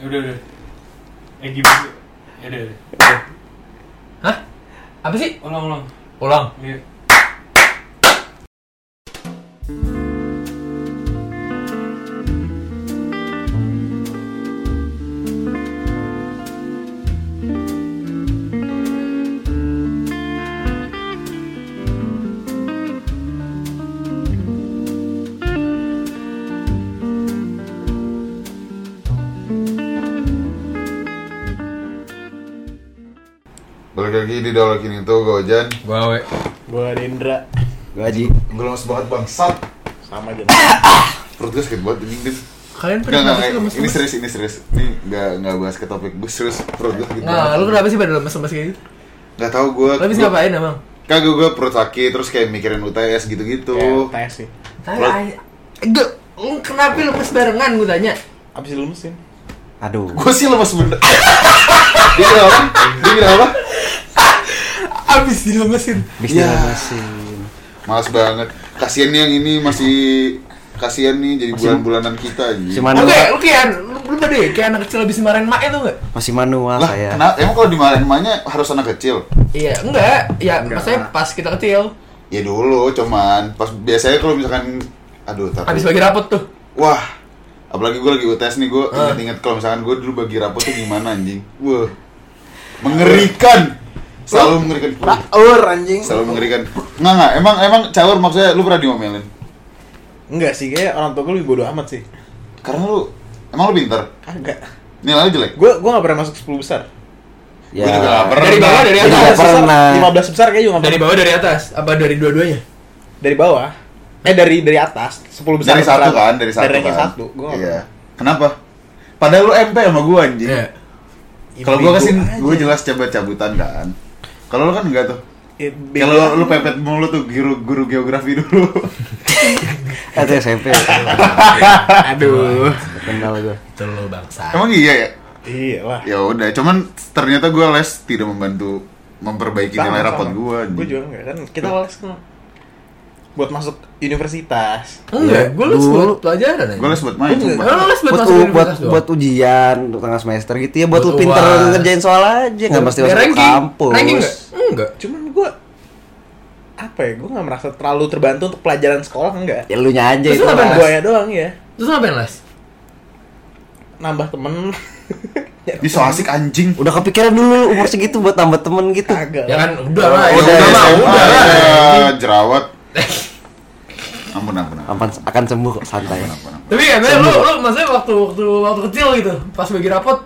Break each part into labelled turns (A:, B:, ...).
A: Ya udah udah. Eh gimana? Ya udah. udah.
B: Hah? Apa sih?
A: Ulang ulang.
B: Ulang.
A: Iya.
C: Balik lagi di Dolokin itu, gue Ojan
B: Gua we.
D: Gua Rendra
C: Gue Haji Gue lemes banget bangsat
D: sama aja.
C: Perut gue sakit banget, ini Din
B: Kalian pernah
C: Nggak, nggak,
B: kenapa sih
C: nggak, ini
B: lemes-lemes?
C: serius, ini serius Ini nggak, nggak bahas ke topik, gue serius Perut gue sakit
B: Nah, lu
C: banget
B: kenapa sih pada lemes-lemes kayak gitu?
C: Nggak tau gue
B: Lu habis ngapain emang?
C: Kagak gue perut sakit, terus kayak mikirin UTS gitu-gitu
D: Kayak
E: Oh.
D: Iya, tes sih.
B: Tapi,
C: Lu-
B: ay- Enggak, lu kenapa lemes barengan gue tanya?
D: Apa sih lu mesin?
E: Aduh.
C: Gue sih lemes bener Dia kenapa? Dia kenapa?
B: Abis dilemesin
E: Bis
C: Ya.
E: dilemesin.
C: Males banget Kasian nih yang ini masih Kasian nih jadi bulan-bulanan kita anjing.
E: Masih
B: Oke,
E: manual.
B: lu kayak, lu, lu pada ya, kayak anak kecil abis dimarahin emaknya tuh gak?
E: Masih manual
C: Lah,
D: ya?
E: saya.
C: kenapa? Emang kalau dimarahin emaknya harus anak kecil?
B: Iya, enggak, ya
D: Enggak.
B: maksudnya pas kita kecil
C: Ya dulu, cuman pas biasanya kalau misalkan aduh tapi
B: Abis bagi rapot tuh
C: wah apalagi gue lagi UTS nih
D: Eh.
C: gue inget-inget kalau misalkan gue dulu bagi rapot tuh gimana anjing wah mengerikan selalu mengerikan
D: Taur anjing.
C: selalu mengerikan nggak nggak emang emang caur maksudnya lu pernah diomelin
D: Enggak sih, kayak orang tua gue lebih bodoh amat sih.
C: karena lu emang lu pintar
D: Kagak.
C: nilai lu jelek
D: Gua gua enggak pernah masuk 10 besar.
E: Ya.
C: Gua juga nggak pernah.
B: Dari bawah, dari
E: Gua juga
B: atas
E: pernah.
D: 15 besar kayaknya juga nggak
B: Dari
D: pernah.
B: bawah, dari atas? Apa dari dua-duanya?
D: Dari bawah. Eh dari dari atas 10 besar.
C: dari satu kan dari satu
D: Dari ranking
C: kan
D: satu. Gua nggak
C: iya kenapa padahal lu MP sama gue anjing
D: Iya.
B: Iya.
D: pernah.
C: kalau gue
D: Ibu
C: kasih
D: aja.
C: gue jelas coba cabutan kan kalau lu kan enggak tuh
D: Ya, bego
C: kalau lu
D: aja.
C: pepet mulu tuh guru guru geografi dulu
E: Eh, Itu SMP.
D: aduh.
E: Kenal gua.
B: Itu lu bangsa
C: emang iya ya
D: Iya lah.
C: ya udah cuman ternyata gue les tidak membantu memperbaiki
D: Sama,
C: nilai rapot
D: sama.
C: gue
D: Gua juga enggak kan. Kita les kan buat masuk universitas.
B: Enggak, gue les
E: Dulu-
B: buat pelajaran aja
C: gue les buat main
D: Gua juga.
C: sumpah.
B: Lu les buat masuk
E: Buat, u- buat,
B: universitas doang?
E: buat ujian tengah semester gitu ya buat
B: Buat
E: lu pinter
B: UAS.
E: ngerjain soal aja nggak mesti
B: Dari
E: masuk
B: ranking.
E: kampus
B: Ranking nggak? Enggak.
D: Cuman gua apa ya? Gua nggak merasa terlalu terbantu untuk pelajaran sekolah enggak.
E: ya lu nya aja
B: Terus
E: itu
B: lu ngapain?
E: Mas.
D: Gua ya doang ya.
B: Terus ngapain les?
D: nambah temen
C: Ini so asik anjing
E: udah kepikiran dulu umur segitu buat tambah temen gitu
D: kagak
B: Ya kan udah lah.
C: Ya
B: ya
E: udah,
B: lah,
C: SMA,
B: udah
C: ya,
B: lah.
C: jerawat ampun ampun ampun
E: akan akan sembuh kok santai
C: ampun, ampun.
B: Tapi ya, lu, lu maksudnya waktu waktu waktu kecil gitu, pas bagi rapot,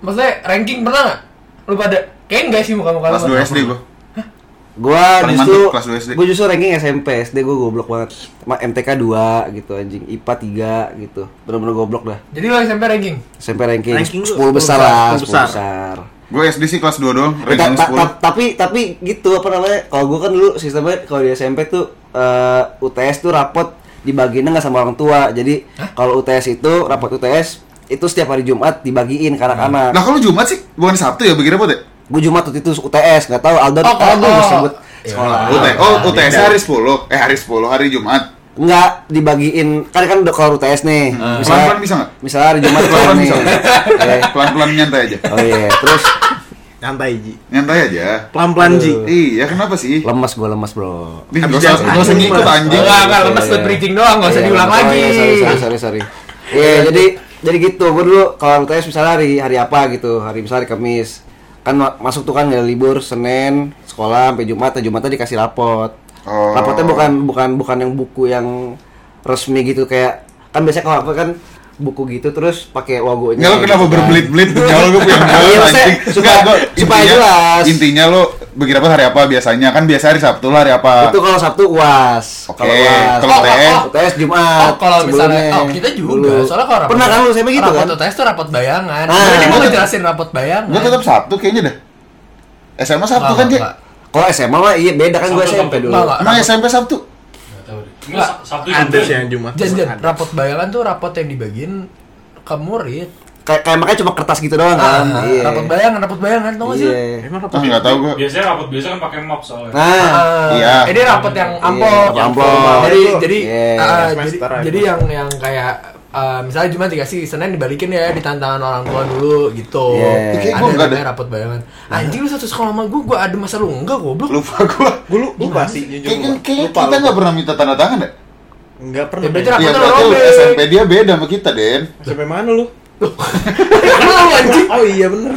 B: maksudnya ranking pernah nggak? Lu pada kayak enggak sih muka muka
C: kelas 2 SD gue
E: Gua
C: Paling
E: justru
C: mantep kelas dua SD.
E: gua justru ranking SMP, SD gua goblok banget. Ma MTK 2 gitu anjing, IPA 3 gitu. Bener-bener goblok dah.
B: Jadi lu SMP ranking.
E: SMP ranking,
D: Ranking lu
E: 10 besar
D: 10
E: lah, 10
D: besar.
E: besar.
C: gue SD sih kelas 2 doang
E: Eh, ta-
C: ranking
E: ta-
C: 10
E: ta- tapi tapi gitu apa namanya? Kalau gua kan dulu sistemnya kalau di SMP tuh eh, UTS tuh rapot dibagiinnya nggak sama orang tua. Jadi kalau UTS itu rapot UTS itu setiap hari Jumat dibagiin ke anak-anak.
C: lah kalau Jumat sih bukan Sabtu ya bagi rapot ya
E: Gua Jumat waktu itu UTS, nggak tahu Aldo
B: Oh, kalau-
E: Aldo gua sebut
B: Ya.
E: sekolah.
C: UT oh UTS hari 10 eh hari 10 hari Jumat
E: Enggak dibagiin kan kan udah kalau UTS nih.
C: Hmm. pelan-pelan bisa nggak?
E: Misalnya hari Jumat kelar
C: pelan-pelan
E: nih.
C: bisa
E: Oke.
C: Eh, pelan-pelan nyantai aja
E: Oh iya, terus
D: nyantai ji
C: nyantai aja
D: pelan-pelan ji
C: iya kenapa sih
E: lemes gua lemes, Bro.
C: Nih,
D: Habis
C: gak usah-
D: jalan
C: gak usah
D: anjing,
C: ngikut
D: Mas.
C: anjing
B: Enggak, enggak,
E: iya,
B: Ah, lemes buat
E: iya.
B: bridging doang, enggak usah
E: Iya,
B: diulang
E: oh, iya,
B: lagi.
E: Sorry, sorry, sorry, sorry. Iya, jadi jadi gitu. Gua dulu kalau UTS misalnya hari hari apa gitu, hari misalnya hari Kamis. Kan ma- masuk tuh kan nggak ada libur Senin sekolah sampai Jumat, nah, Jumatnya dikasih rapot.
C: Oh.
E: Rapotnya bukan bukan bukan yang buku yang resmi gitu kayak kan biasanya kalau apa kan buku gitu terus pakai logonya.
C: Enggak lo
E: gitu
C: kenapa
E: kan.
C: berbelit-belit tuh jauh gue punya
E: Iya,
C: jauh
E: maksudnya
C: anjing. Enggak,
E: supaya-
C: gua
E: supaya
C: intinya-
E: jelas.
C: Intinya lo bagi rapat hari apa biasanya? Kan biasa hari Sabtu lah hari apa?
E: Itu kalau Sabtu UAS.
C: Oke,
E: Kalau UAS.
C: kalau
E: Kalau
C: UTS?
E: UTS Jumat.
B: Oh, kalau misalnya,
E: Ah, sebelumnya.
B: oh kita juga,
E: Dulu.
B: soalnya kalau rapot
E: Pernah kan lu sampai gitu kan?
B: Rapot tes tuh rapot bayangan.
E: Ah.
B: Jadi gua
C: Gua-
B: ngejelasin rapot bayangan.
C: Gue tetap Sabtu kayaknya dah. SMA Sabtu kan, Cek?
B: Enggak,
E: Kalau SMA mah iya beda kan gue
F: Sabtu,
E: SMP
F: Sabtu.
E: dulu.
B: enggak, enggak,
C: Emang SMP Sabtu?
F: Enggak, Sabtu
D: ada
F: juga.
D: sih yang cuma
B: Jas, jas, rapot bayangan tuh rapot yang dibagiin ke murid.
E: Kayak kayak makanya cuma kertas gitu doang kan.
B: Ah,
E: Iya.
B: Rapot bayangan, rapot bayangan tau gak sih?
E: Iya.
D: emang apa
C: Ah, enggak tahu gue.
F: Biasanya rapat biasa kan pakai map soalnya.
E: Nah,
B: Ah,
C: Iya.
B: Ini rapot yang amplop.
E: Iya, rapot amplop.
B: Jadi
D: Itu.
B: jadi
E: Iya.
B: ah,
D: Semester
B: jadi,
D: aja.
B: jadi yang yang kayak eh, misalnya Jumat dikasih Senin dibalikin ya di tantangan orang tua dulu gitu.
E: Iya.
B: Ada
C: Oke, gua enggak
B: namanya
C: ada.
B: rapot bayangan. Anjing lu satu sekolah sama gua, gua ada masa lu enggak goblok.
C: Lupa gua.
D: Gue lupa sih, jujur
C: Kayaknya
D: Iya, lupa.
C: kayaknya
D: Lupa,
C: kita
D: lupa. Nah,
C: nggak pernah minta tanda tangan ya?
D: Nggak pernah.
B: Ya, berarti
C: Iya
B: rapot lu
C: berarti
B: robek.
C: SMP dia beda sama kita Den.
D: Sampai mana lu?
B: Lu anjing.
D: Oh iya bener.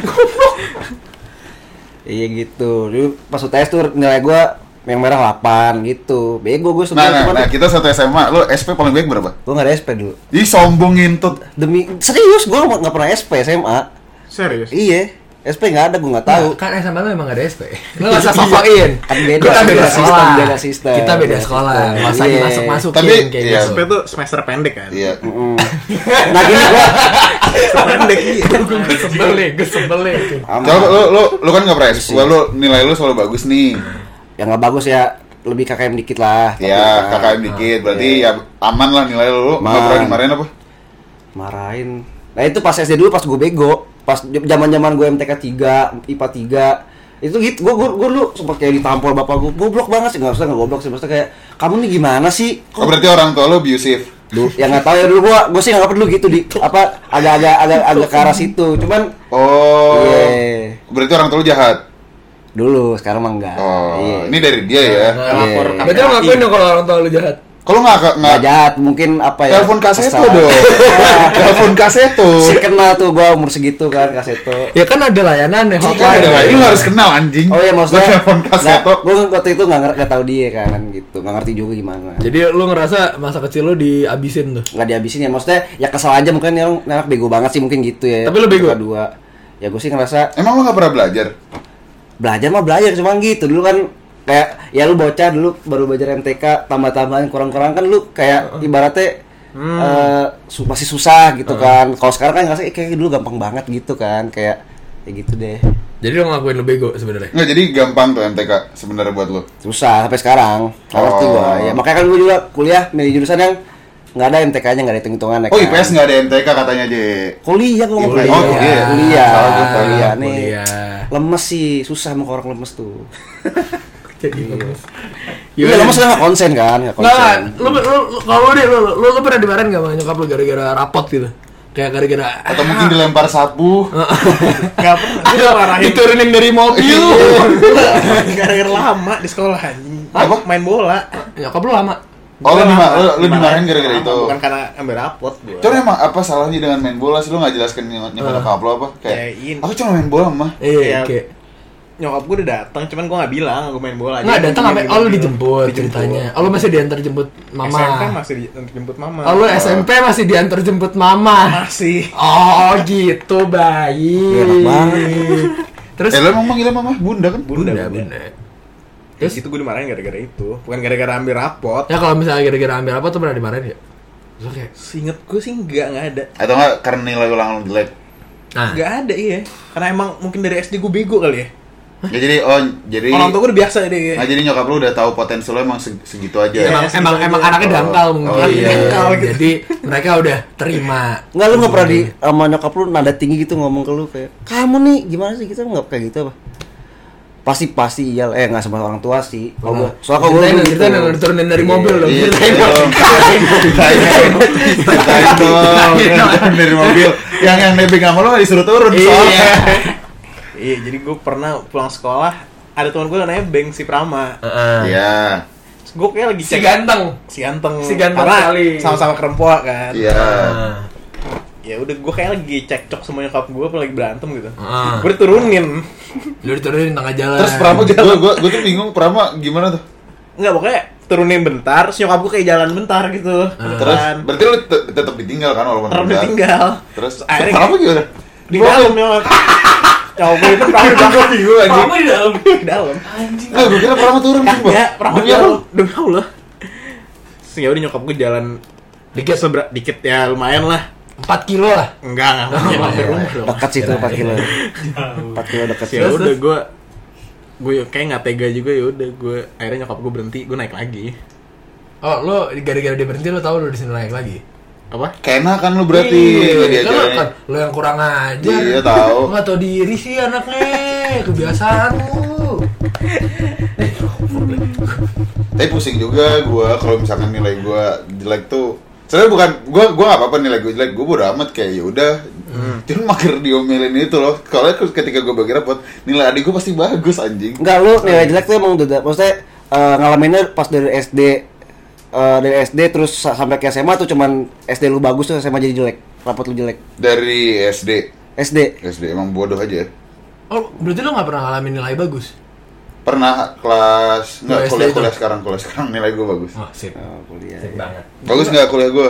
E: Iya gitu. Dulu pas UTS tuh nilai gua yang merah 8 gitu. Bego gua
C: Nah,
E: sebenarnya.
C: nah,
E: cuman
C: nah, kita satu SMA, lu SP paling baik berapa?
E: Gua enggak ada SP dulu.
C: Ih sombong ngintut.
E: Demi serius gua nggak pernah SP SMA.
D: Serius?
E: Iya. SP nggak ada gua nggak tahu.
B: Kan SMA lu emang gak ada SP. Lu gak usah sokoin.
E: Kan beda,
B: Kita beda
E: beda
B: sekolah.
E: sistem, beda sistem.
B: Kita beda
E: Beda
B: sekolah.
E: sistem.
B: Masa
E: Iya.
B: masuk-masukin
C: Tapi,
B: kayak
C: iya.
B: gitu.
D: SP tuh semester pendek kan?
C: Iya.
E: Mm. Nah gini gua
D: Semester pendek iya.
B: Gue sebel nih, gue sebel gitu. nih.
E: Aman. Iya
C: Coba lu lu lu kan nggak pernah SP, lu nilai lu selalu bagus nih.
E: yang nggak bagus ya lebih KKM dikit lah. Tapi kan.
C: Ya,
E: nggak
C: KKM dikit, berarti ya aman lah nilai lu. Lu nggak
E: Iya. Aman.
C: pernah dimarahin apa?
E: Marahin. Nah itu pas SD dulu pas gue bego, pas zaman-zaman gue MTK 3, IPA 3 itu gitu gue gue gue dulu sempat kayak ditampol bapak gue goblok banget sih nggak usah nggak goblok sih maksudnya kayak kamu nih gimana sih
C: Oh, berarti orang tua lu abusive.
E: Duh, yang nggak tahu ya dulu gua gua sih nggak perlu gitu di apa agak-agak agak agak ke arah situ cuman
C: Oh.
E: Iya.
C: Berarti orang tua lu jahat.
E: dulu sekarang mah enggak
C: Oh,
E: Iya.
C: ini dari dia ya.
D: Lapor
E: Iya.
B: Berarti lu ngakuin dong kalau orang tua lu jahat.
C: Kalau nggak
E: nggak
C: nggak
E: jahat mungkin apa ya
C: telepon kaseto
E: kesalahan.
C: dong. Telepon kaseto.
E: si kenal tuh gua umur segitu kan kaseto
B: Ya kan ada layanan nih
C: Ini kan
B: hotline.
C: ada lagi, lu harus kenal anjing.
E: iya. Oh iya maksudnya
C: Lu telepon kaseto.
E: Gue waktu itu nggak ngerti tahu dia kan gitu, nggak ngerti juga gimana.
B: Jadi lu ngerasa masa kecil lu diabisin tuh.
E: Nggak dihabisin ya maksudnya ya kesal aja mungkin ya orang anak bego banget sih mungkin gitu ya.
B: Tapi lu bego?
E: Kedua, ya gue sih ngerasa
C: Emang lu nggak pernah belajar?
E: belajar mah belajar cuman gitu dulu kan kayak ya lu bocah dulu baru belajar MTK tambah-tambahan kurang-kurang kan lu kayak ibaratnya
B: Hmm.
E: eh, su- masih susah gitu kan. Kalau sekarang kan ngerasa eh, kayak dulu gampang banget gitu kan kayak ya gitu deh.
B: Jadi lu ngelakuin lu bego sebenarnya.
C: Nggak, jadi gampang tuh MTK sebenarnya buat lu.
E: susah sampai sekarang nggak ngerti
C: Oh.
E: gua ya makanya kan gua juga kuliah milih jurusan yang nggak ada MTK-nya nggak ada ya kan. hitung hitungannya
C: Oh IPS nggak ada MTK katanya aja.
E: kuliah gua mau
C: Kuliah.
E: kuliah
C: Oh, kuliah.
E: kuliah
C: Salah gua,
E: kuliah nih
B: kuliah.
E: lemes sih susah sama orang lemes tuh
B: Jadi lemes.
E: iya lemes kan nggak konsen kan nggak konsen
B: Enggak, lu lu lu- kalau lu deh lu lu, lu pernah dimarahin gak sama nyokap lu gara-gara rapot gitu? Kayak gara-gara
C: Atau mungkin
E: Ah.
C: dilempar sapu.
D: Nggak pernah. Gue marahin
B: diturunin dari mobil.
E: iya.
D: gara-gara lama di sekolah anjing.
C: Apa?
D: Main bola.
B: nyokap lu lama.
C: Oh lu,
D: Gua
C: dima-
D: lama,
C: lu, lu dimarahin
D: dimarahin
C: gara-gara
D: lama,
C: itu. kan
D: Bukan karena ambil rapot gua.
C: Coba emang apa salahnya dengan main bola sih lu nggak jelaskan nyokap nyokap lu apa? Kayak
D: Ah. Ya, ini.
C: aku cuma main bola mah.
B: Iya,
D: Iya.
B: kayak
D: Nyokap gue udah datang, cuman gue nggak bilang gue main bola.
B: Enggak
D: Jadi
B: datang
D: dia
B: sampai
D: bilang
B: oh lu
D: gitu.
B: dijemput,
D: Dijemput.
B: ceritanya. Oh lu masih diantar jemput mama.
D: SMP masih dijemput mama.
B: Oh lu SMP masih diantar jemput mama.
D: masih.
B: Oh gitu baik.
E: Enak
B: Terus
C: Eh lu emang manggilnya mama bunda kan?
D: Bunda,
B: Bunda,
D: bunda.
B: bunda.
D: Terus itu gue dimarahin gara-gara itu, bukan gara-gara ambil rapot.
B: Ya kalau misalnya gara-gara ambil apa tuh pernah dimarahin ya? Terus kayak
D: Singet gue sih nggak nggak ada,
C: Atau nggak karena nilai ulangan lu jelek?
B: nah,
D: nggak ada iya. Karena emang mungkin dari SD gue bego kali ya.
C: Ya, jadi oh
B: Iya.
C: jadi
D: Orang tua gue udah biasa deh.
C: Nah, jadi nyokap lu udah tahu potensi lu emang seg- segitu aja.
D: Iya.
B: emang
D: Ya,
B: emang
D: segitu
B: emang
D: aja.
B: anaknya dangkal
C: Oh,
B: mungkin.
C: oh, iya.
D: Dangkal gitu.
B: Jadi mereka udah terima.
E: Enggak lu nggak pernah di sama nyokap lu nada tinggi gitu ngomong ke lu kayak kamu nih gimana sih kita nggak kayak gitu apa pasti pasti iya lah. eh nggak sama orang tua sih kalau gua soalnya kalau gua
B: Ceritain
E: dulu gitu.
B: dong, ceritain dong, diturunin dari mobil dong.
C: Iya,
B: Ceritain
C: iya,
B: dong.
C: Ceritain dong. Ceritain dong.
B: Ceritain dong.
C: Dari mobil yang yang nebeng sama lu nggak disuruh turun soalnya.
D: Iya, jadi gue pernah pulang sekolah ada teman gue namanya Beng si Prama.
C: Iya.
D: Terus gue kayak lagi
B: Si
D: cek
B: ganteng.
D: si ganteng,
B: Si ganteng
D: Karena
B: sekali.
D: sama-sama kerempoa kan.
C: Iya.
D: Ya udah gue kayak lagi cekcok sama nyokap gue, apa lagi berantem gitu.
B: Ah.
D: Gue diturunin.
B: Lu diturunin di tengah jalan.
C: Terus Prama
D: Ah.
C: gua gua gua tuh bingung Prama gimana tuh?
D: Enggak, pokoknya turunin bentar, terus nyokap gue kayak jalan bentar gitu.
B: Ah.
C: Terus
D: Bentar.
C: berarti lu te- tetap ditinggal kan walaupun
D: Terus
C: udah.
D: ditinggal.
C: Terus
D: akhirnya
C: Prama gimana?
D: di dalam nyokap. Nyokap gue itu perahu di
C: Gua bingung anjing.
F: Apa di dalam?
D: di dalam.
C: Nah, gua kira Prama turun
D: Kagak, perahu di
C: Demi apa?
D: dalam. Demi Allah. Terus ya udah nyokap gue jalan dikit sebera dikit ya lumayan lah.
B: 4 kilo lah.
D: Enggak, enggak
B: Oh,
D: mungkin
B: iya,
D: hampir rumah dong.
E: dekat situ empat kilo empat kilo dekat
D: Ya
E: situ
B: Terus,
D: udah
B: terus.
D: gue gue kayak nggak tega juga ya udah gue akhirnya nyokap gue berhenti gue naik lagi
B: Oh, lu gara-gara dia berhenti lu tahu lu di sini naik lagi.
D: apa
C: Kena kan lu berarti gak
B: Iya, kan lu,
C: diajarin.
B: kan, lu yang kurang aja.
C: Iya, tahu.
B: Enggak tahu diri sih anaknya. Kebiasaan lu.
C: Tapi pusing juga gua kalau misalkan nilai gua jelek tuh Sebenarnya bukan gua gua gak apa-apa nilai gue jelek, gua bodo amat kayak ya udah.
D: Hmm.
C: Cuman mager diomelin itu loh. Kalau ketika gua bagi rapot, nilai adik gua pasti bagus anjing.
E: Enggak lu nilai jelek tuh emang udah da- maksudnya eh, ngalaminnya pas dari SD eh, dari SD terus sa- sampai ke SMA tuh cuman SD lu bagus tuh SMA jadi jelek. Rapot lu jelek.
C: Dari SD.
E: SD.
C: SD emang bodoh aja. ya.
B: Oh, berarti lo nggak pernah ngalamin nilai bagus?
C: Pernah
B: Lu
C: kelas enggak
B: SD
C: kuliah
B: itu?
C: kuliah sekarang kuliah sekarang nilai gua bagus.
B: Oh, sip.
E: Oh, kuliah.
A: Sip
E: ya.
A: banget.
C: Bagus nggak kuliah gua?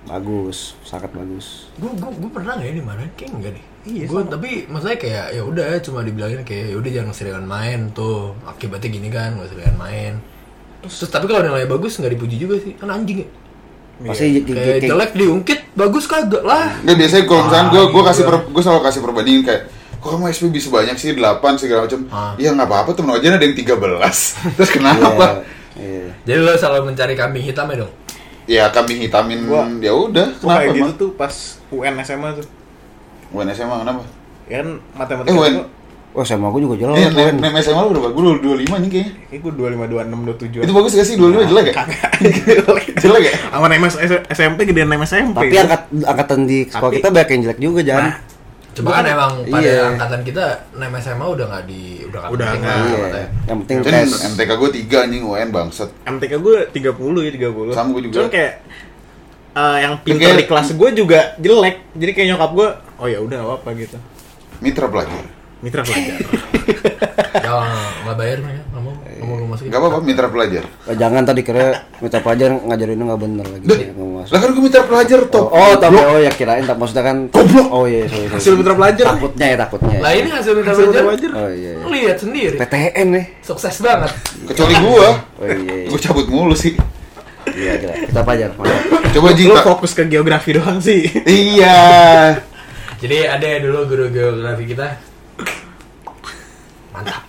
E: Bagus, sangat bagus.
B: Gue gue gue pernah nggak ya di mana? Kayak enggak deh. Iya. Gue tapi maksudnya kayak ya udah cuma dibilangin kayak ya udah jangan seringan main tuh. Akibatnya gini kan, nggak seringan main. Terus, tapi kalau nilai bagus nggak dipuji juga sih, kan anjing ya.
E: Pasti
B: Iya,
E: j- j-
B: Kayak
E: kayak-
B: Eh, jelek diungkit, bagus kagak lah.
C: Nggak biasanya kalau misalnya gue
D: Ah,
C: gue
D: iya.
C: kasih per, gue selalu kasih perbandingan kayak kok kamu SPB sebanyak sih 8 segala macam.
B: Ah.
C: Iya nggak apa-apa temen aja ada yang 13. Terus kenapa?
E: Iya.
B: Jadi lo selalu mencari kambing hitam ya dong.
C: Ya kami hitamin
D: Iya. Gua-
C: ya udah
D: Gua
C: kenapa
D: kayak gitu
C: emang?
D: tuh pas UN SMA tuh.
C: UN SMA kenapa?
D: Ya kan matematika
C: Eh, UN.
D: gua
E: Wah, SMA aku juga
C: Eh,
E: jelek.
C: nem
E: Wen.
C: nem SMA lu berapa? Gue 25 nih kayaknya.
D: kayak gua 25 26 27.
C: Itu bagus gak sih 25 jelek ya? Jelek ya?
D: Sama MS SMP gedean MS SMP.
E: Tapi angkat angkatan di sekolah
D: Tapi-
E: kita banyak yang jelek juga, Jan.
D: Nah,
B: Coba kan emang pada
E: Iya.
B: angkatan kita nama SMA udah nggak di udah nggak
D: Udah
B: penting
D: nggak,
B: lah,
E: Iya.
B: katanya.
E: Yang penting
C: Kan
E: tes.
C: MTK gue 3 anjing UN bangsat.
D: MTK gue 30 ya 30
C: Sama gua juga.
D: Cuman kayak eh, yang pintar
C: Kayak-
D: di kelas gue juga jelek Jadi kayak nyokap gue Oh ya udah apa gitu
C: Mitra pelajar.
D: Mitra pelajar
B: Ya nggak bayar mah ya, nggak mau nggak mau lu masukin.
C: Gak apa-apa mitra pelajar.
E: Oh, jangan tadi kira minta pelajar ngajarinnya nggak bener lagi.
C: Dah,
E: Nggak masuk.
C: lah kan gue mitra pelajar
E: Oh,
C: top.
E: oh, tapi oh ya kirain tak maksudnya kan.
C: Goblok.
E: Oh iya, sorry, sorry.
D: Hasil mitra pelajar.
E: Takutnya ya, takutnya. ya.
B: Lah ini kan- hasil minta
D: Hasil
B: belajar.
D: pelajar.
E: Oh iya. iya.
B: Lu Lihat sendiri.
E: PTN nih.
B: Sukses banget.
C: Kecuali gue,
E: ya? Oh iya. iya.
C: gue cabut mulu sih.
E: Iya, gila. Kita pelajar. pelajar.
C: Coba
D: Lu
C: Jita.
D: fokus ke geografi doang sih
C: Iya.
B: Jadi ada ya dulu guru geografi kita. Mantap.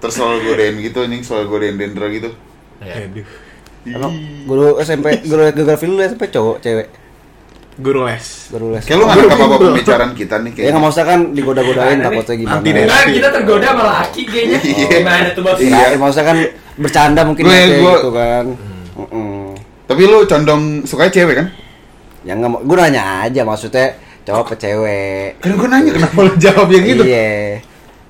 C: Terus selalu godain gitu anjing, selalu godain Dendra gitu.
B: Ya.
D: Aduh
E: Emang guru SMP, guru geografi lu SMP cowok, cewek,
D: Guru les
E: guru les.
C: Kayak lu nggak ngerti apa pembicaraan kita nih
E: Ya
C: kayak. gitu.
E: nggak maksudnya kan digoda-godain takutnya gimana.
D: Nanti deh.
B: Nah, kita tergoda sama laki kayaknya. Oh,
C: Iya.
B: Gimana tuh bos?
E: Iya, ya, maksudnya kan bercanda mungkin
C: Gue-
E: kayak
C: gue- Hmm.
E: gitu kan. Mm-mm.
C: Tapi lu condong suka cewek kan?
E: Ya nggak mau, gue nanya aja maksudnya cowok ke cewek.
C: Kan gue nanya kenapa lu jawab yang gitu?
E: Iya.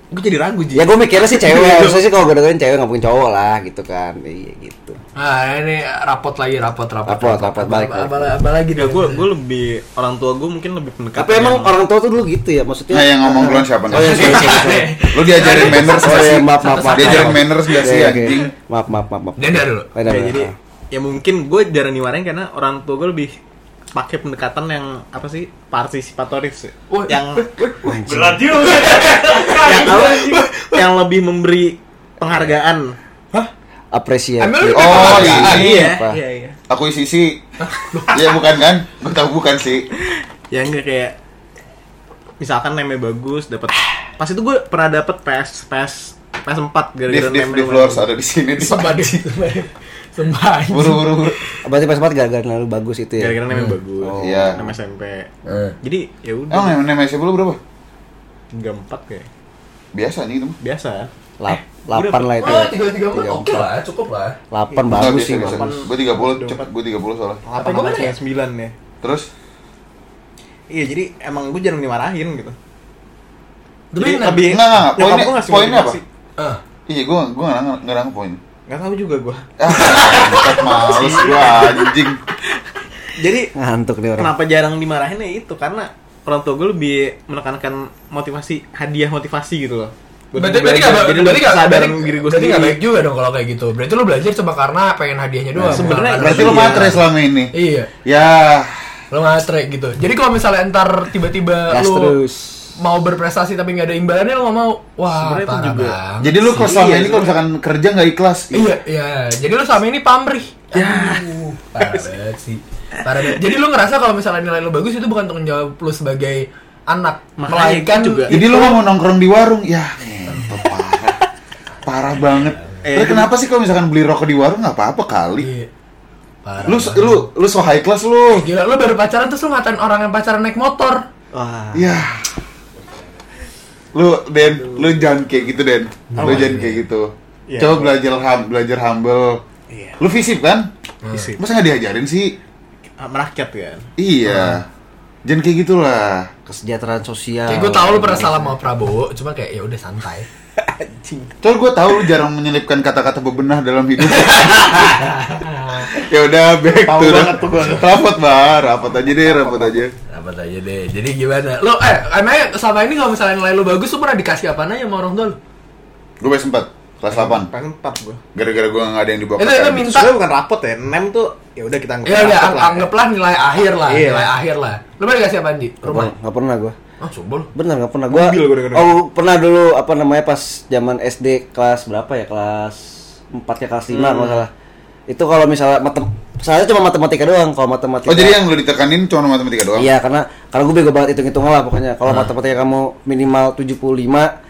D: Gue jadi ragu Ji
E: Ya gue mikirnya sih cewek, harusnya sih kalau godain cewek nggak mungkin cowok lah gitu kan. Iya gitu.
B: Nah, ini rapot lagi rapot rapot.
E: Rapot, rapot, balik,
B: Apa- apa-
E: balik.
B: apa lagi
D: Ya
B: dong?
D: gue gue lebih orang tua gue mungkin lebih pendekatan
E: Tapi emang orang tua tuh dulu gitu ya maksudnya.
C: Nah yang ngomong duluan siapa nih?
E: Oh iya, sorry, sorry, sorry.
C: Lu diajarin manners
E: Oh
C: gak
E: iya,
C: sih?
E: maaf, maaf, maaf.
C: Diajarin
E: maaf.
C: manners gak
E: Iya,
C: sih
E: iya,
C: anjing?
E: iya. Maaf, maaf, maaf, maaf.
B: Denda dulu.
E: Oh, iya,
D: Ya,
E: iya.
D: jadi ya mungkin gue jarang niwarin karena orang tua gue lebih pakai pendekatan yang apa sih partisipatorif sih.
B: Wah.
D: yang
F: Berat juga.
D: yang apa, yang lebih memberi penghargaan
E: apresiasi.
B: Emang lu
C: Oh
D: Ah,
C: ini.
D: iya,
E: Apa?
D: iya, iya.
C: Aku isi sih. Iya bukan kan? Gue tau bukan sih.
D: Ya enggak kayak misalkan name bagus dapat pas itu gue pernah dapat PS PS PS4
C: Div
D: gara-gara
C: div
D: name-nya
C: div lu harus
D: bagus.
C: ada di sini. Div.
B: sembah di sembah.
C: Buru buru buru.
E: Berarti pas banget gara-gara lu bagus itu ya.
D: gara-gara name bagus.
C: Oh, iya.
D: Nama SMP.
B: Eh.
D: Jadi ya
C: Emang
D: udah
C: yang nama SMP lu berapa?
D: 34 kayak.
C: Biasa nih itu. mah.
D: Biasa.
E: Lap, lapan lah itu.
B: Oh,
E: ya.
B: tiga tiga empat. Oke lah, cukup lah.
E: Lapan
C: Nggak,
E: bagus
C: biasa,
E: sih.
C: biasa,
E: maksudnya.
C: biasa. Gue 30 cepet gue 30 soalnya.
D: 8
B: gimana ya?
D: 9 ya.
C: Terus
D: Iya, jadi emang gue jarang dimarahin gitu.
B: Tapi
D: Jadi
B: nah,
D: lebih
C: Enggak, enggak, enggak.
D: nyokap
C: Poinnya-
D: gua ngasih
C: poinnya
D: motivasi.
B: eh,
C: iya gue gue nggak nang- nggak nangkep poin.
D: Nggak tahu juga gue.
C: Ah, tetap males gue anjing.
D: Jadi
E: Ngantuk nih orang.
D: kenapa jarang dimarahin ya itu karena orang tua gue lebih menekankan motivasi hadiah motivasi gitu loh. Buat
B: Berarti berarti
D: gua
B: nggak
D: belajar.
B: berarti
D: jadi
B: berarti nggak
D: kesadaran
B: berarti-
D: diri gue
B: berarti nggak
D: sendiri.
B: baik juga dong kalau kayak gitu. Berarti lu belajar cuma karena pengen hadiahnya doang. bukan
D: sebenarnya
B: karena
C: Berarti lu
B: hadiah.
C: matre selama ini.
B: Iya,
C: Ya,
B: lu matre gitu. Jadi kalau misalnya entar tiba-tiba
E: Gas
B: lu
E: terus.
B: mau berprestasi tapi nggak ada imbalannya lu nggak mau. Wah,
D: Sebenarnya itu
B: parah
D: juga.
B: banget
C: jadi lu kalau
B: sih.
C: selama ini kalau misalkan kerja nggak ikhlas.
B: Iya, iya. Jadi lu selama ini pamrih.
C: Ya.
B: Aduh, parah banget sih. Parah banget. Jadi lu ngerasa kalau misalnya nilai lu bagus itu bukan tanggung jawab lu sebagai anak,
D: Makanya
B: melainkan Iya,
D: itu juga.
C: Jadi lu mau nongkrong di warung, ya ngentot parah. Parah banget.
D: Eh,
C: Terus kenapa sih kalau misalkan beli rokok di warung nggak apa-apa kali?
B: Iya. Eh, Parah.
C: Lu
B: banget.
C: lu lu so high class lu.
B: Gila, lu baru pacaran terus lu ngatain orang yang pacaran naik motor.
D: Wah.
C: Ya. Lu Den, lu jangan kayak gitu Den. Lu jangan kayak gitu.
D: Iya.
C: Coba belajar hum, belajar humble.
D: Iya.
C: Lu visip kan?
D: Fisip.
C: Masa nggak diajarin sih?
D: eh, merakyat kan.
C: Iya. Jangan kayak gitulah.
E: kesejahteraan sosial.
B: Kayak gue
C: Nah.
B: tau lu pernah salah sama Prabowo, cuma kayak ya udah santai.
C: Soalnya gue tahu lu jarang menyelipkan kata-kata bebenah dalam hidup. ya udah back
D: Tahu
C: to
D: banget tuh gua.
C: rapat bah, rapat aja deh, rapat aja.
B: Apa aja deh. Jadi gimana? Lo eh emangnya selama ini kalau misalnya nilai lu bagus lu pernah dikasih apa aja sama orang tua lu?
C: Gue baik sempat kelas 8
D: Paling empat gue.
C: gara-gara gue nggak ada yang dibawa.
B: Itu
C: KKN.
B: itu minta.
D: Sebenarnya bukan rapot ya, nem tuh ya udah kita anggap
B: Ya udah
D: rapot
B: ang-
D: lah.
B: anggaplah nilai akhir lah,
D: Iya.
B: nilai akhir lah. Lu pernah dikasih apa Ji?
E: Nggak pernah,
B: Rumah.
E: nggak pernah gue.
B: Ah, sombol.
E: Bener nggak pernah gue.
D: Mobil gua denger-denger.
E: Oh pernah dulu apa namanya pas zaman SD kelas berapa ya kelas 4 ya kelas 5 nggak salah. Itu kalau misalnya matem, saya cuma matematika doang kalau matematika.
C: Oh jadi yang lu ditekanin cuma matematika doang?
E: Iya, karena karena gue bego banget hitung-hitungan lah pokoknya. Kalau matematika kamu minimal 75,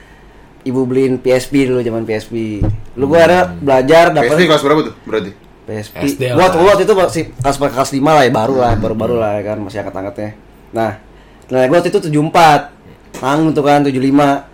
E: ibu beliin PSP dulu zaman PSP. Lu gue ada belajar
C: PSP
E: dapat
C: kelas berapa tuh berarti?
E: PSP.
B: SD lah.
E: Gua waktu itu masih kelas kelas 5 lah ya, baru lah, baru-baru lah ya kan masih angkat-angkatnya. Nah, nilai gua waktu itu 74. Tanggung tuh kan 75.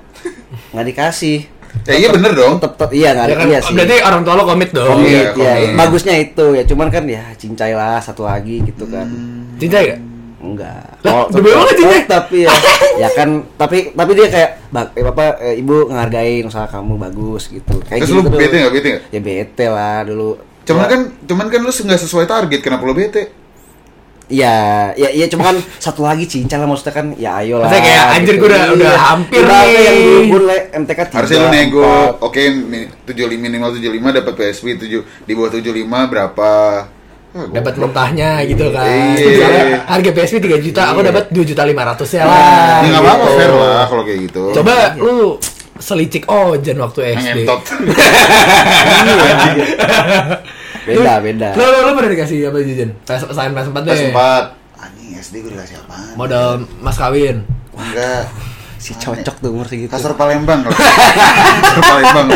E: Nggak dikasih.
C: Ya iya bener dong.
E: Tetep, tetep- iya nggak
B: Ya
E: ada
B: kan,
E: iya sih.
B: berarti orang tua lo komit dong.
C: iya,
E: komit,
C: komit.
E: iya, Bagusnya itu ya, cuman kan ya cincai lah satu lagi gitu kan.
C: Hmm.
B: Cinta ya?
E: Enggak.
B: Lah,
E: Kalau
B: demi Allah nggak cintai?
E: tapi ya, ya kan, tapi tapi dia kayak bang, eh, apa eh, ibu ngehargain usaha kamu bagus gitu. Kayak
C: Terus
E: gitu
C: lu
E: dulu.
C: bete nggak bete nggak?
E: Ya bete lah dulu.
C: Cuman
E: Ya,
C: kan cuman kan lu nggak sesuai target kenapa lu bete?
E: Iya, ya ya cuma kan satu lagi cincin lah maksudnya kan ya gitu. ayolah.
B: Maksudnya kayak, anjir, gua udah- udah hampir nih.
E: Ibaratnya Iya, yang dulu gue MTK tiga,
C: Harusnya lu nego,
E: empat.
C: oke mi- 75 minimal 75 dapat PSP 7 di bawah 75 berapa? Ah, gua-
B: Dapat mentahnya gitu kan.
C: Iya.
B: Misalnya harga PSP 3 juta, aku dapat 2 juta 500 ya lah.
C: Ya
B: gitu.
C: nggak apa-apa fair lah kalau kayak gitu.
B: Coba lu selicik ojan waktu SD.
C: ngentot.
E: Beda, beda.
B: Lu lu, lu pernah dikasih apa jajan? PS selain PS4 deh.
C: Pas sempat. Anjing SD gue dikasih apaan?
B: Modal mas kawin.
C: Enggak.
E: Si cocok tuh umur segitu.
C: Kasur Palembang. kalau- Kasur Palembang.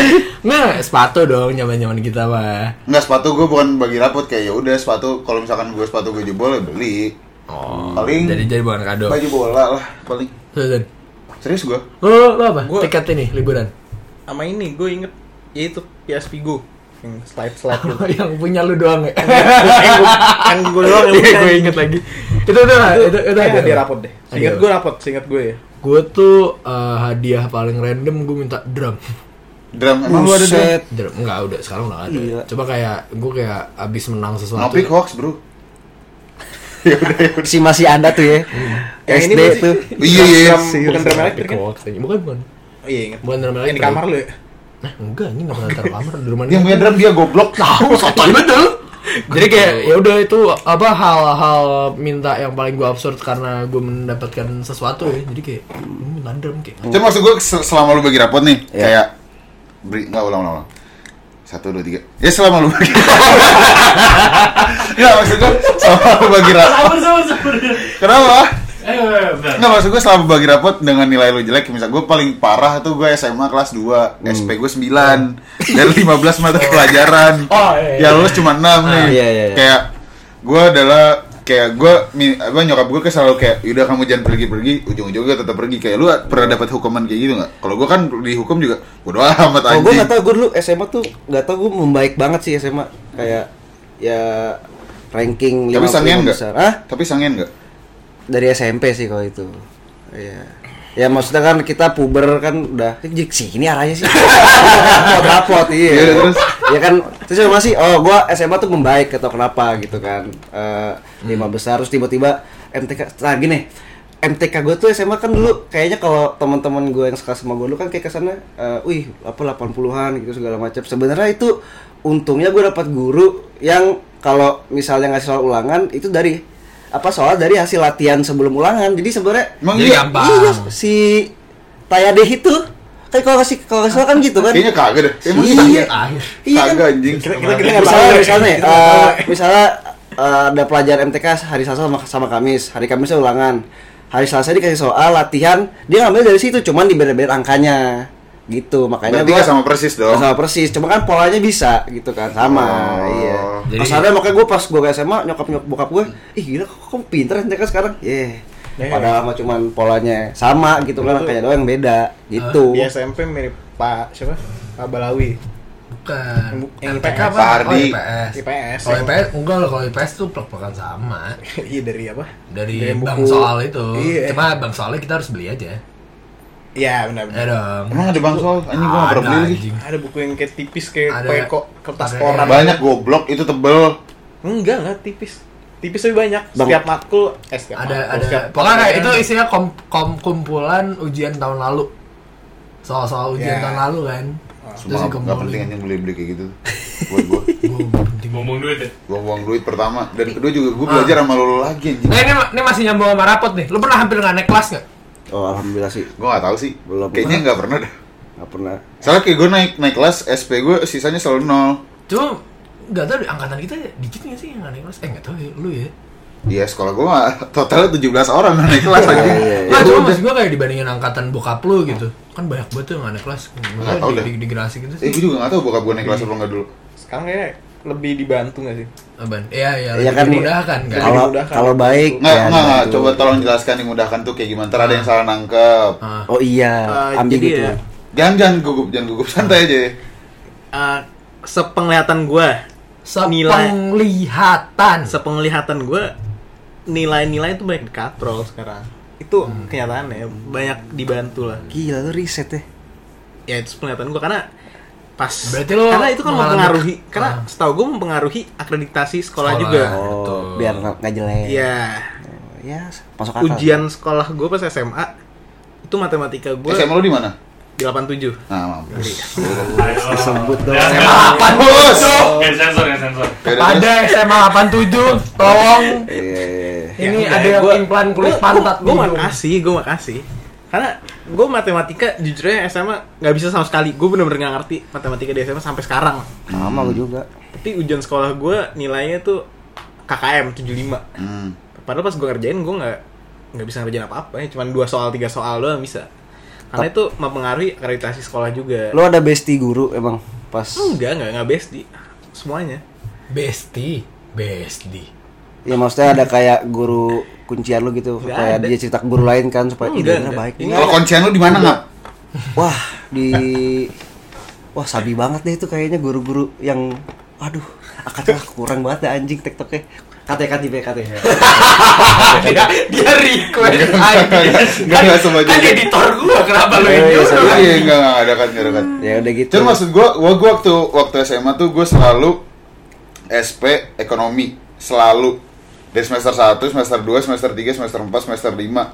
B: Nah, sepatu dong nyaman-nyaman kita mah.
C: Enggak sepatu gue bukan bagi rapot kayak ya udah sepatu kalau misalkan gue sepatu gue jebol ya beli.
B: Oh,
C: Paling-
B: jadi jadi bukan kado.
C: Baju bola lah paling.
B: Sudah.
C: Serius gue?
B: Lu lu apa?
D: Gua-
B: Tiket ini liburan.
D: Sama ini gue inget ya itu PSP gue yang slide slide gitu.
B: yang punya lu doang ya.
D: yang gue yang gue doang yang
B: Iya, gue
D: bukan.
B: inget lagi. Itu udah lah, Eh, itu itu
D: Kayaknya
B: ada
D: hadiah eh, rapot deh. Seingat
B: Ada.
D: gue rapot, seingat gue ya.
B: Gue tuh eh, hadiah paling random gue minta drum.
C: Drum emang lu ada drum?
E: Buset.
B: Drum enggak udah sekarang udah nggak ada.
E: Iya.
B: Coba kayak gue kayak abis menang sesuatu.
C: Nopik hoax bro.
E: Si masih ada tuh ya.
D: Yang ini
E: SD
D: bukan sih?
E: tuh.
C: Iya iya.
D: Drum- bukan drum elektrik kan?
B: Nopik hoax aja. gitu. Bukan bukan.
D: Oh, Iya inget.
B: Bukan drum
D: Yang di
B: elektrik.
D: kamar lu ya.
B: Nah, enggak, ini enggak pernah taruh kamar di rumah
C: Yang punya drum dia goblok.
B: tahu
C: iya,
B: sotoy betul jadi kayak ya udah itu apa hal-hal minta yang paling gue absurd karena gue mendapatkan sesuatu ya jadi kayak lu minta drum kayak
C: Cuma maksud gue se- selama lu bagi rapot nih kayak beri nggak ulang ulang. ulang. Satu dua tiga. Ya selama lu bagi. Nggak maksud gue selama lu bagi rapot.
F: Sabar, sabar, sabar.
C: Kenapa?
F: Ayo, ayo, Eh, bentar.
C: Nggak maksud gue selama bagi rapot dengan nilai lu jelek. Misal gue paling parah tuh gue SMA kelas 2 SP gue 9 dan 15 mata pelajaran.
B: Oh,
F: eh.
B: iya, iya.
C: Ya lulus cuma 6 nih.
E: iya, iya, iya.
C: Kayak gue adalah kayak gue apa nyokap gue kayak selalu kayak udah kamu jangan pergi-pergi ujung-ujungnya tetap pergi kayak lu pernah dapat hukuman kayak gitu nggak? Kalau gue kan dihukum juga bodo amat
E: Oh,
C: anjing.
E: gue gak tau, gue dulu SMA tuh gak tau gue membaik banget sih SMA Kayak ya ranking
C: Tapi
E: 50
C: sangen nggak?
E: besar Hah?
C: Tapi sangen nggak?
E: Dari SMP sih kalau itu Iya Ya maksudnya kan kita puber kan udah "Ih, sini arahnya sih. rapot rapot
C: Iya,
E: iya.
C: terus?
E: ya kan terus sama sih oh gua SMA tuh membaik atau kenapa gitu kan. Eh lima besar terus tiba-tiba MTK nah gini MTK gue tuh SMA kan dulu kayaknya kalau teman-teman gue yang sekelas sama gue dulu kan kayak kesana, eh, wih apa 80-an gitu segala macam. Sebenarnya itu untungnya gue dapat guru yang kalau misalnya ngasih soal ulangan itu dari apa soal dari hasil latihan sebelum ulangan. Jadi sebenarnya
C: Emang
B: Jadi
C: iya?
B: gampang.
E: Iya, si Tayadeh itu kan kalau kasih kalau nggak salah kan gitu kan?
C: Kayaknya kagak deh. Emang
E: Iya.
C: iya.
B: akhir
E: Iya kan?
C: Kagak anjing.
D: Kita nggak
E: Misalnya,
D: tahu ya.
E: misalnya, nih, eh, misalnya eh, ada pelajaran MTK hari Selasa sama, sama Kamis, hari Kamisnya ulangan, hari Selasa dikasih soal latihan, dia ngambil dari situ, cuman dibeda-beda angkanya, gitu makanya
C: Berarti
E: gua-
C: nggak sama persis dong.
E: nggak sama persis, cuma kan polanya bisa gitu kan sama,
C: Oh.
E: iya.
B: Jadi-
E: Masalahnya makanya gue pas gue ke SMA nyokap nyokap bokap gue, ih gila kok kamu pinter MTK sekarang, yeah.
D: Yeah.
E: Padahal mah cuman
B: Oh.
E: polanya
D: Ah,
E: sama gitu kan, kayak doang yang beda gitu.
D: Di SMP mirip Pak siapa? Pak Balawi.
B: Bukan.
D: Yang
B: LPK
D: IPS.
B: apa?
C: Pardi.
B: Oh, IPS.
D: IPS.
B: Kalau IPS, enggak lah. Kalau IPS tuh plek-plekan sama.
D: Iya dari apa?
B: Dari,
D: Dari
B: bang
D: buku.
B: soal itu.
D: Iya.
B: Cuma bang soalnya kita harus beli aja.
D: Iya benar
B: Ya
D: benar.
B: dong.
C: Emang ada bang soal? Anjing gua nggak pernah
B: Ada,
C: beli lagi.
B: anjing.
D: Ada buku yang kayak tipis kayak
B: Ada-
D: kayak kok kertas
B: ada-
D: koran.
C: Banyak goblok itu tebel.
D: Enggak enggak tipis. Tipis tapi banyak.
E: Bang-
D: Setiap matkul, eh setiap
B: Ada
D: matkul,
B: ada.
D: setiap Iya.
B: Pokoknya kayak itu
D: pelajaran.
B: isinya kom, kom- kumpulan ujian tahun lalu. Soal-soal ujian
D: Ya.
B: tahun lalu kan. Terus
C: Semua nggak penting
B: dikumpulin.
C: anjing beli-beli kayak gitu. Buat gua
B: Gua nggak penting.
F: Ngomong duit ya.
C: buang-buang duit pertama dan kedua juga gua belajar sama lu lagi anjing.
B: Nah ini, ini masih nyambung sama rapot nih. Lu pernah hampir nggak naik kelas nggak?
E: Oh alhamdulillah sih
C: Gua nggak tahu sih.
E: Belum.
C: Kayaknya nggak pernah dah.
E: nggak pernah.
C: Soalnya kayak gua naik naik kelas SP gua sisanya selalu nol.
B: Cuma nggak tahu di angkatan kita dikit nggak sih yang nggak naik kelas? Eh nggak tahu ya, lu ya.
C: Iya sekolah gua mah totalnya 17 orang nggak naik kelas aja.
E: iya,
B: Nah, cuma maksud gue kayak dibandingin angkatan bokap lu gitu. Kan banyak banget tuh yang nggak naik kelas.
C: Nggak tahu
B: di,
C: deh.
B: di, di gerasi gitu
C: Eh
B: sih.
C: gua juga nggak tahu bokap gua naik kelas apa nggak dulu.
D: Sekarang kayaknya lebih dibantu nggak sih?
B: Aban. Iya, iya.
C: Ya
E: Iya
B: lebih
E: kan,
B: dimudahkan kan.
D: Lebih
E: Kalau
D: dimudahkan.
E: kalau baik
C: Nggak,
E: ya,
C: nggak, nggak.
E: bantu.
C: Coba tolong jelaskan yang mudahkan tuh kayak gimana. Ntar ada yang salah nangkep.
B: Ah.
E: Oh iya,
D: Eh,
E: ambil
D: jadi
E: gitu.
D: ya,
C: Jangan, jangan gugup, jangan gugup. Santai aja.
D: eh, sepenglihatan gua, nilai
B: Sepenglihatan.
D: sepenglihatan gua nilai-nilai itu banyak dikatrol sekarang. Itu
B: Hmm.
D: kenyataannya banyak dibantu lah.
E: Gila lu riset ya.
D: ya itu penglihatan gue karena pas
B: Berarti lo
D: karena itu kan
B: mengalami-
D: mempengaruhi karena
B: Ah.
D: setahu gue mempengaruhi akreditasi sekolah,
B: Sekolah.
D: juga
C: Nah,
B: Oh, betul.
E: Oh, biar nggak nggak jelek.
D: ya
E: Oh, Ya, masuk akal.
D: ujian sekolah gue pas SMA itu matematika gue
C: SMA lu di mana?
D: di 87
C: Nah, mampus.
E: disebut dong.
F: Ya,
B: SMA 87.
F: Yang sensor, yang sensor.
B: Pada SMA 87, tolong
E: Iya, iya, iya.
C: Ya,
B: ini ada yang implan kulit Kan pantat gitu.
D: gue
B: hidung.
D: makasih gue makasih karena gue matematika jujurnya SMA nggak bisa sama sekali gue bener-bener nggak ngerti matematika di SMA sampai sekarang
E: Sama gua juga.
D: tapi ujian sekolah gue nilainya tuh KKM 75
C: Hmm.
D: Padahal pas gue ngerjain gue nggak nggak bisa ngerjain apa-apa ya, cuman dua soal tiga soal doang bisa. Karena itu mempengaruhi akreditasi sekolah juga.
E: Lu ada bestie guru emang pas
D: Enggak, enggak, enggak besti. Semuanya.
B: Besti, besti.
E: ya maksudnya ada kayak guru kuncian lu gitu
D: Nggak
E: kayak
D: ada.
E: dia cerita ke guru lain kan supaya
D: Nggak
E: idenya
D: ada.
E: baik.
D: Ini-
C: Kalau kuncian lu di mana nggak?
E: Wah, di Wah, sabi banget deh itu kayaknya guru-guru yang aduh, akadnya kurang banget dah anjing TikToknya. KTK tipe
C: Iya.
E: KTK.
B: dia, dia request kan
C: Nggak, nggak semua juga.
B: editor gua, kenapa lu
E: yang nyuruh?
C: Iya, iya, nggak, nggak ada kan, nggak ada kan.
E: Ya udah gitu.
C: Cuma maksud gua, gua, gua waktu waktu SMA tuh gua selalu SP ekonomi selalu dari semester 1, semester 2, semester 3, semester 4, semester 5.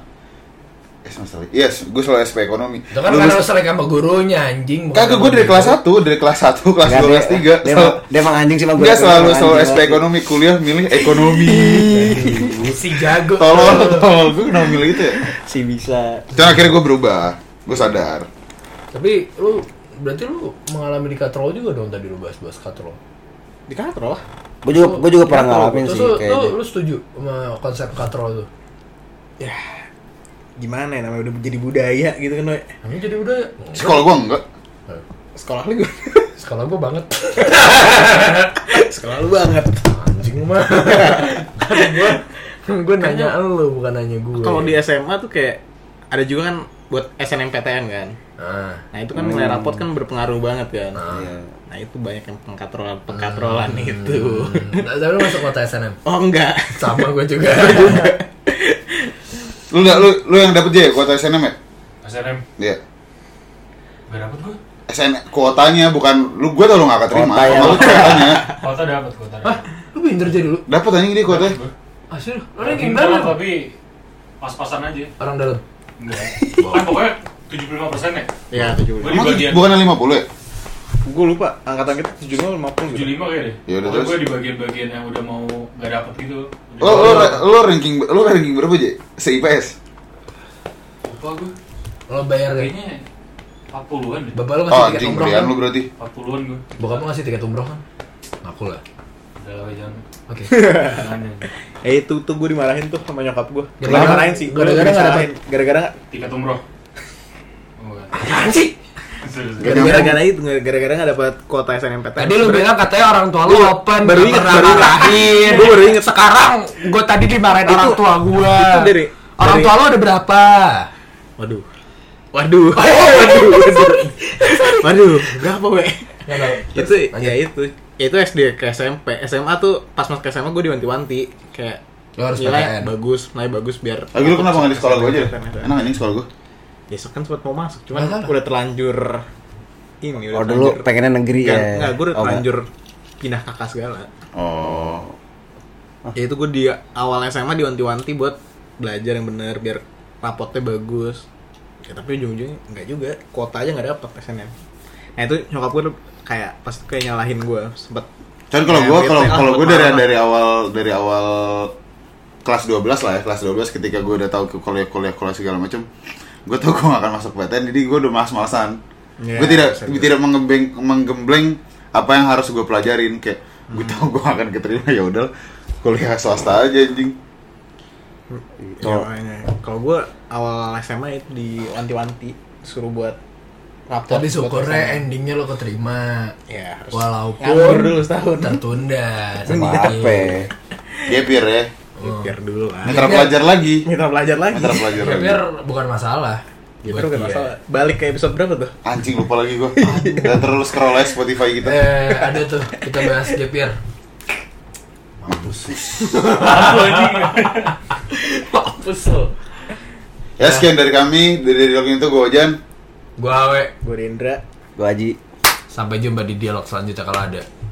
C: Eh, semester Yes, gua selalu SP ekonomi.
B: Itu kan
C: Lulus-
B: karena lu sering sama gurunya anjing. bukan
C: Kagak
B: sama
C: gue dari
B: guru.
C: kelas 1, dari kelas 1, kelas
E: Nggak,
C: 2,
E: dia-
C: kelas 3
E: Dia, emang- dia emang anjing sih emang
C: Dia selalu
E: Emang
C: selalu
E: anjing
C: SP
E: banget.
C: ekonomi, kuliah milih ekonomi
B: Si jago.
C: Tolol, tolol, gue kenapa milih itu ya
E: Si bisa.
C: Cuman akhirnya gue berubah, gue sadar
B: Tapi lu berarti lu mengalami di katrol juga dong tadi lu bahas-bahas katrol.
D: Di kantor lah.
E: Gue juga,
B: Lu
E: gue juga pernah
B: katrol.
E: ngalamin
B: Terus
E: sih gitu.
B: lu-
E: kayaknya.
C: Iya,
B: Lu, lu setuju sama konsep katrol tuh?
D: Ya. Gimana ya namanya udah jadi budaya gitu kan. Noe.
B: Ini jadi udah
C: Sekolah gue enggak
D: Sekolah lu gimana?
B: sekolah gua banget.
D: Sekolah lu banget.
B: Anjing lu mah. Kan gua gua nanya lu bukan nanya gue.
D: Kalau di SMA tuh kayak ada juga kan buat SNMPTN kan.
B: Nah,
D: Nah, itu kan nilai rapot kan berpengaruh banget kan.
B: Ah.
E: Iya.
D: Nah, itu banyak yang pengkatrolan pengkatrolan itu.
B: hmm. Nah, tapi lu masuk kota SNM.
D: Oh, enggak.
B: Sama gua juga.
C: Lu enggak, lu, lu yang dapet J ya, kuota SNM ya?
F: SNM.
C: Iya
F: Gak dapet gue.
C: SN kuotanya bukan lu gue tau lu gak keterima
E: Kuota ya.
C: kalau lu kuotanya
F: Kota dapet, kota dapet.
B: Hah, lu pinter jadi lu.
C: dapet anjing dia kuotanya
F: Gua.
B: Asli lu. Lu
F: Tapi
B: ranking
F: pintar,
B: berapa?
F: Tapi pas-pasan aja.
B: Orang dalam.
F: Enggak. Kan pokoknya 75% ya.
D: Ya,
F: Gue
D: 75.
F: di
C: Emang tuj-
F: bagian
C: bukan 50 ya
D: Gue lupa angkatan kita 75 50 gitu.
F: 75 kayaknya.
C: Ya
F: Pokoknya
C: udah, terus. Oh,
F: gue di bagian-bagian yang udah mau gak dapet gitu.
C: Lu, lu, lu ranking lu ranking berapa J? Se-IPS? nah.
F: Lupa gue.
B: Lo bayar deh.
F: Kayaknya 40-an deh.
B: Bapak lu
C: Oh
B: ngasih tiket
C: anjing
B: umroh.
C: berian
B: Kan?
C: lu berarti
F: 40-an gue.
B: Bokap lu ngasih tiket umroh kan? Ngaku lah.
F: Udah lah, jangan.
B: Oke.
F: Jangan, ya.
D: Eh itu tuh gue dimarahin tuh sama nyokap gue.
B: Gara-gara-
D: Dimarahin sih. Gue
B: gara-gara
D: gara-gara
B: nggak
D: disalahin. Gara-gara nggak-
F: Tiket umroh. Oh, enggak.
B: Apaan sih?
F: Serius.
D: gara-gara itu gara-gara nggak dapat kuota SNMPTN.
B: Tadi lu bilang katanya orang tua lu open
D: Iya, baru
B: nggak
D: inget,
B: pernah
D: baru inget.
B: marahin.
D: Gua baru inget.
B: Sekarang gue tadi dimarahin
D: Itu-
B: orang tua gua.
D: itu dari-
B: orang
D: dari-
B: tua lu ada berapa?
D: Oh, Waduh. Waduh. Waduh. Waduh. Berapa, we?
B: Nggak tahu. Terus,
D: itu
B: lanjut.
D: ya itu ya itu SD ke SMP SMA tuh pas masuk ke SMA gue diwanti-wanti kayak
B: Lo harus PTN.
D: nilai bagus nilai bagus biar
C: Lagi lu kenapa nggak di sekolah gue aja?
D: PTN, PTN.
C: Enak anjing sekolah gue.
D: besok kan sempat mau masuk cuman
B: Nggak salah.
D: udah terlanjur ini udah
E: Oh dulu
D: terlanjur-
E: pengennya
C: Iya,
E: negeri
D: Nggak,
E: ya.
D: nggak, gue udah
E: Oh, nggak.
D: terlanjur pindah kakak segala
C: Oh.
D: ya itu gue di awal SMA diwanti-wanti buat belajar yang bener biar rapotnya bagus ya tapi ujung-ujungnya nggak juga kuota aja nggak dapet SNM nah itu nyokap gue kayak pas itu kayak nyalahin gue sempet
C: Kan kalau
D: Eh,
C: gue
D: bete
C: kalau
D: lah,
C: kalau gue
D: buat
C: dari
D: apa?
C: dari awal dari awal kelas 12 lah ya, kelas 12 ketika gue udah tahu ke kuliah-kuliah kuliah segala macam, gue tahu gue gak akan masuk PTN jadi gue udah malas-malasan.
D: Iya,
C: gue tidak
D: bisa
C: gue
D: juga.
C: tidak menggembleng menggembleng apa yang harus gue pelajarin kayak gue
D: Hmm.
C: tahu gue gak akan keterima ya udah kuliah swasta aja anjing.
E: Oh.
D: Ya, makanya. kalau gue awal SMA itu diwanti-wanti suruh buat rapor.
B: Tapi syukurnya
D: buat
B: endingnya lo keterima.
D: SMA. ya harus nganggur
B: Walaupun
D: dulu setahun.
B: tertunda
E: Sama ya? HP.
C: ya? Gapir ya.
D: Biar dulu lah.
C: Mitra pelajar lagi.
D: Mitra belajar lagi.
C: Mitra pelajar lagi.
B: Biar bukan masalah. Iya.
D: Gitu
B: Buat
D: kan
B: dia.
D: masalah. Balik ke episode berapa tuh?
C: Anjing lupa lagi gue. Dan terus scroll aja Spotify kita.
D: Iya.
B: Eh, ada tuh kita bahas gap year.
D: Mampus lo.
C: Ya sekian dari kami dari dialog itu gue Ojan.
B: Gua Awe.
D: Gue Rendra.
E: Gue Haji.
B: Sampai jumpa di dialog selanjutnya kalau ada.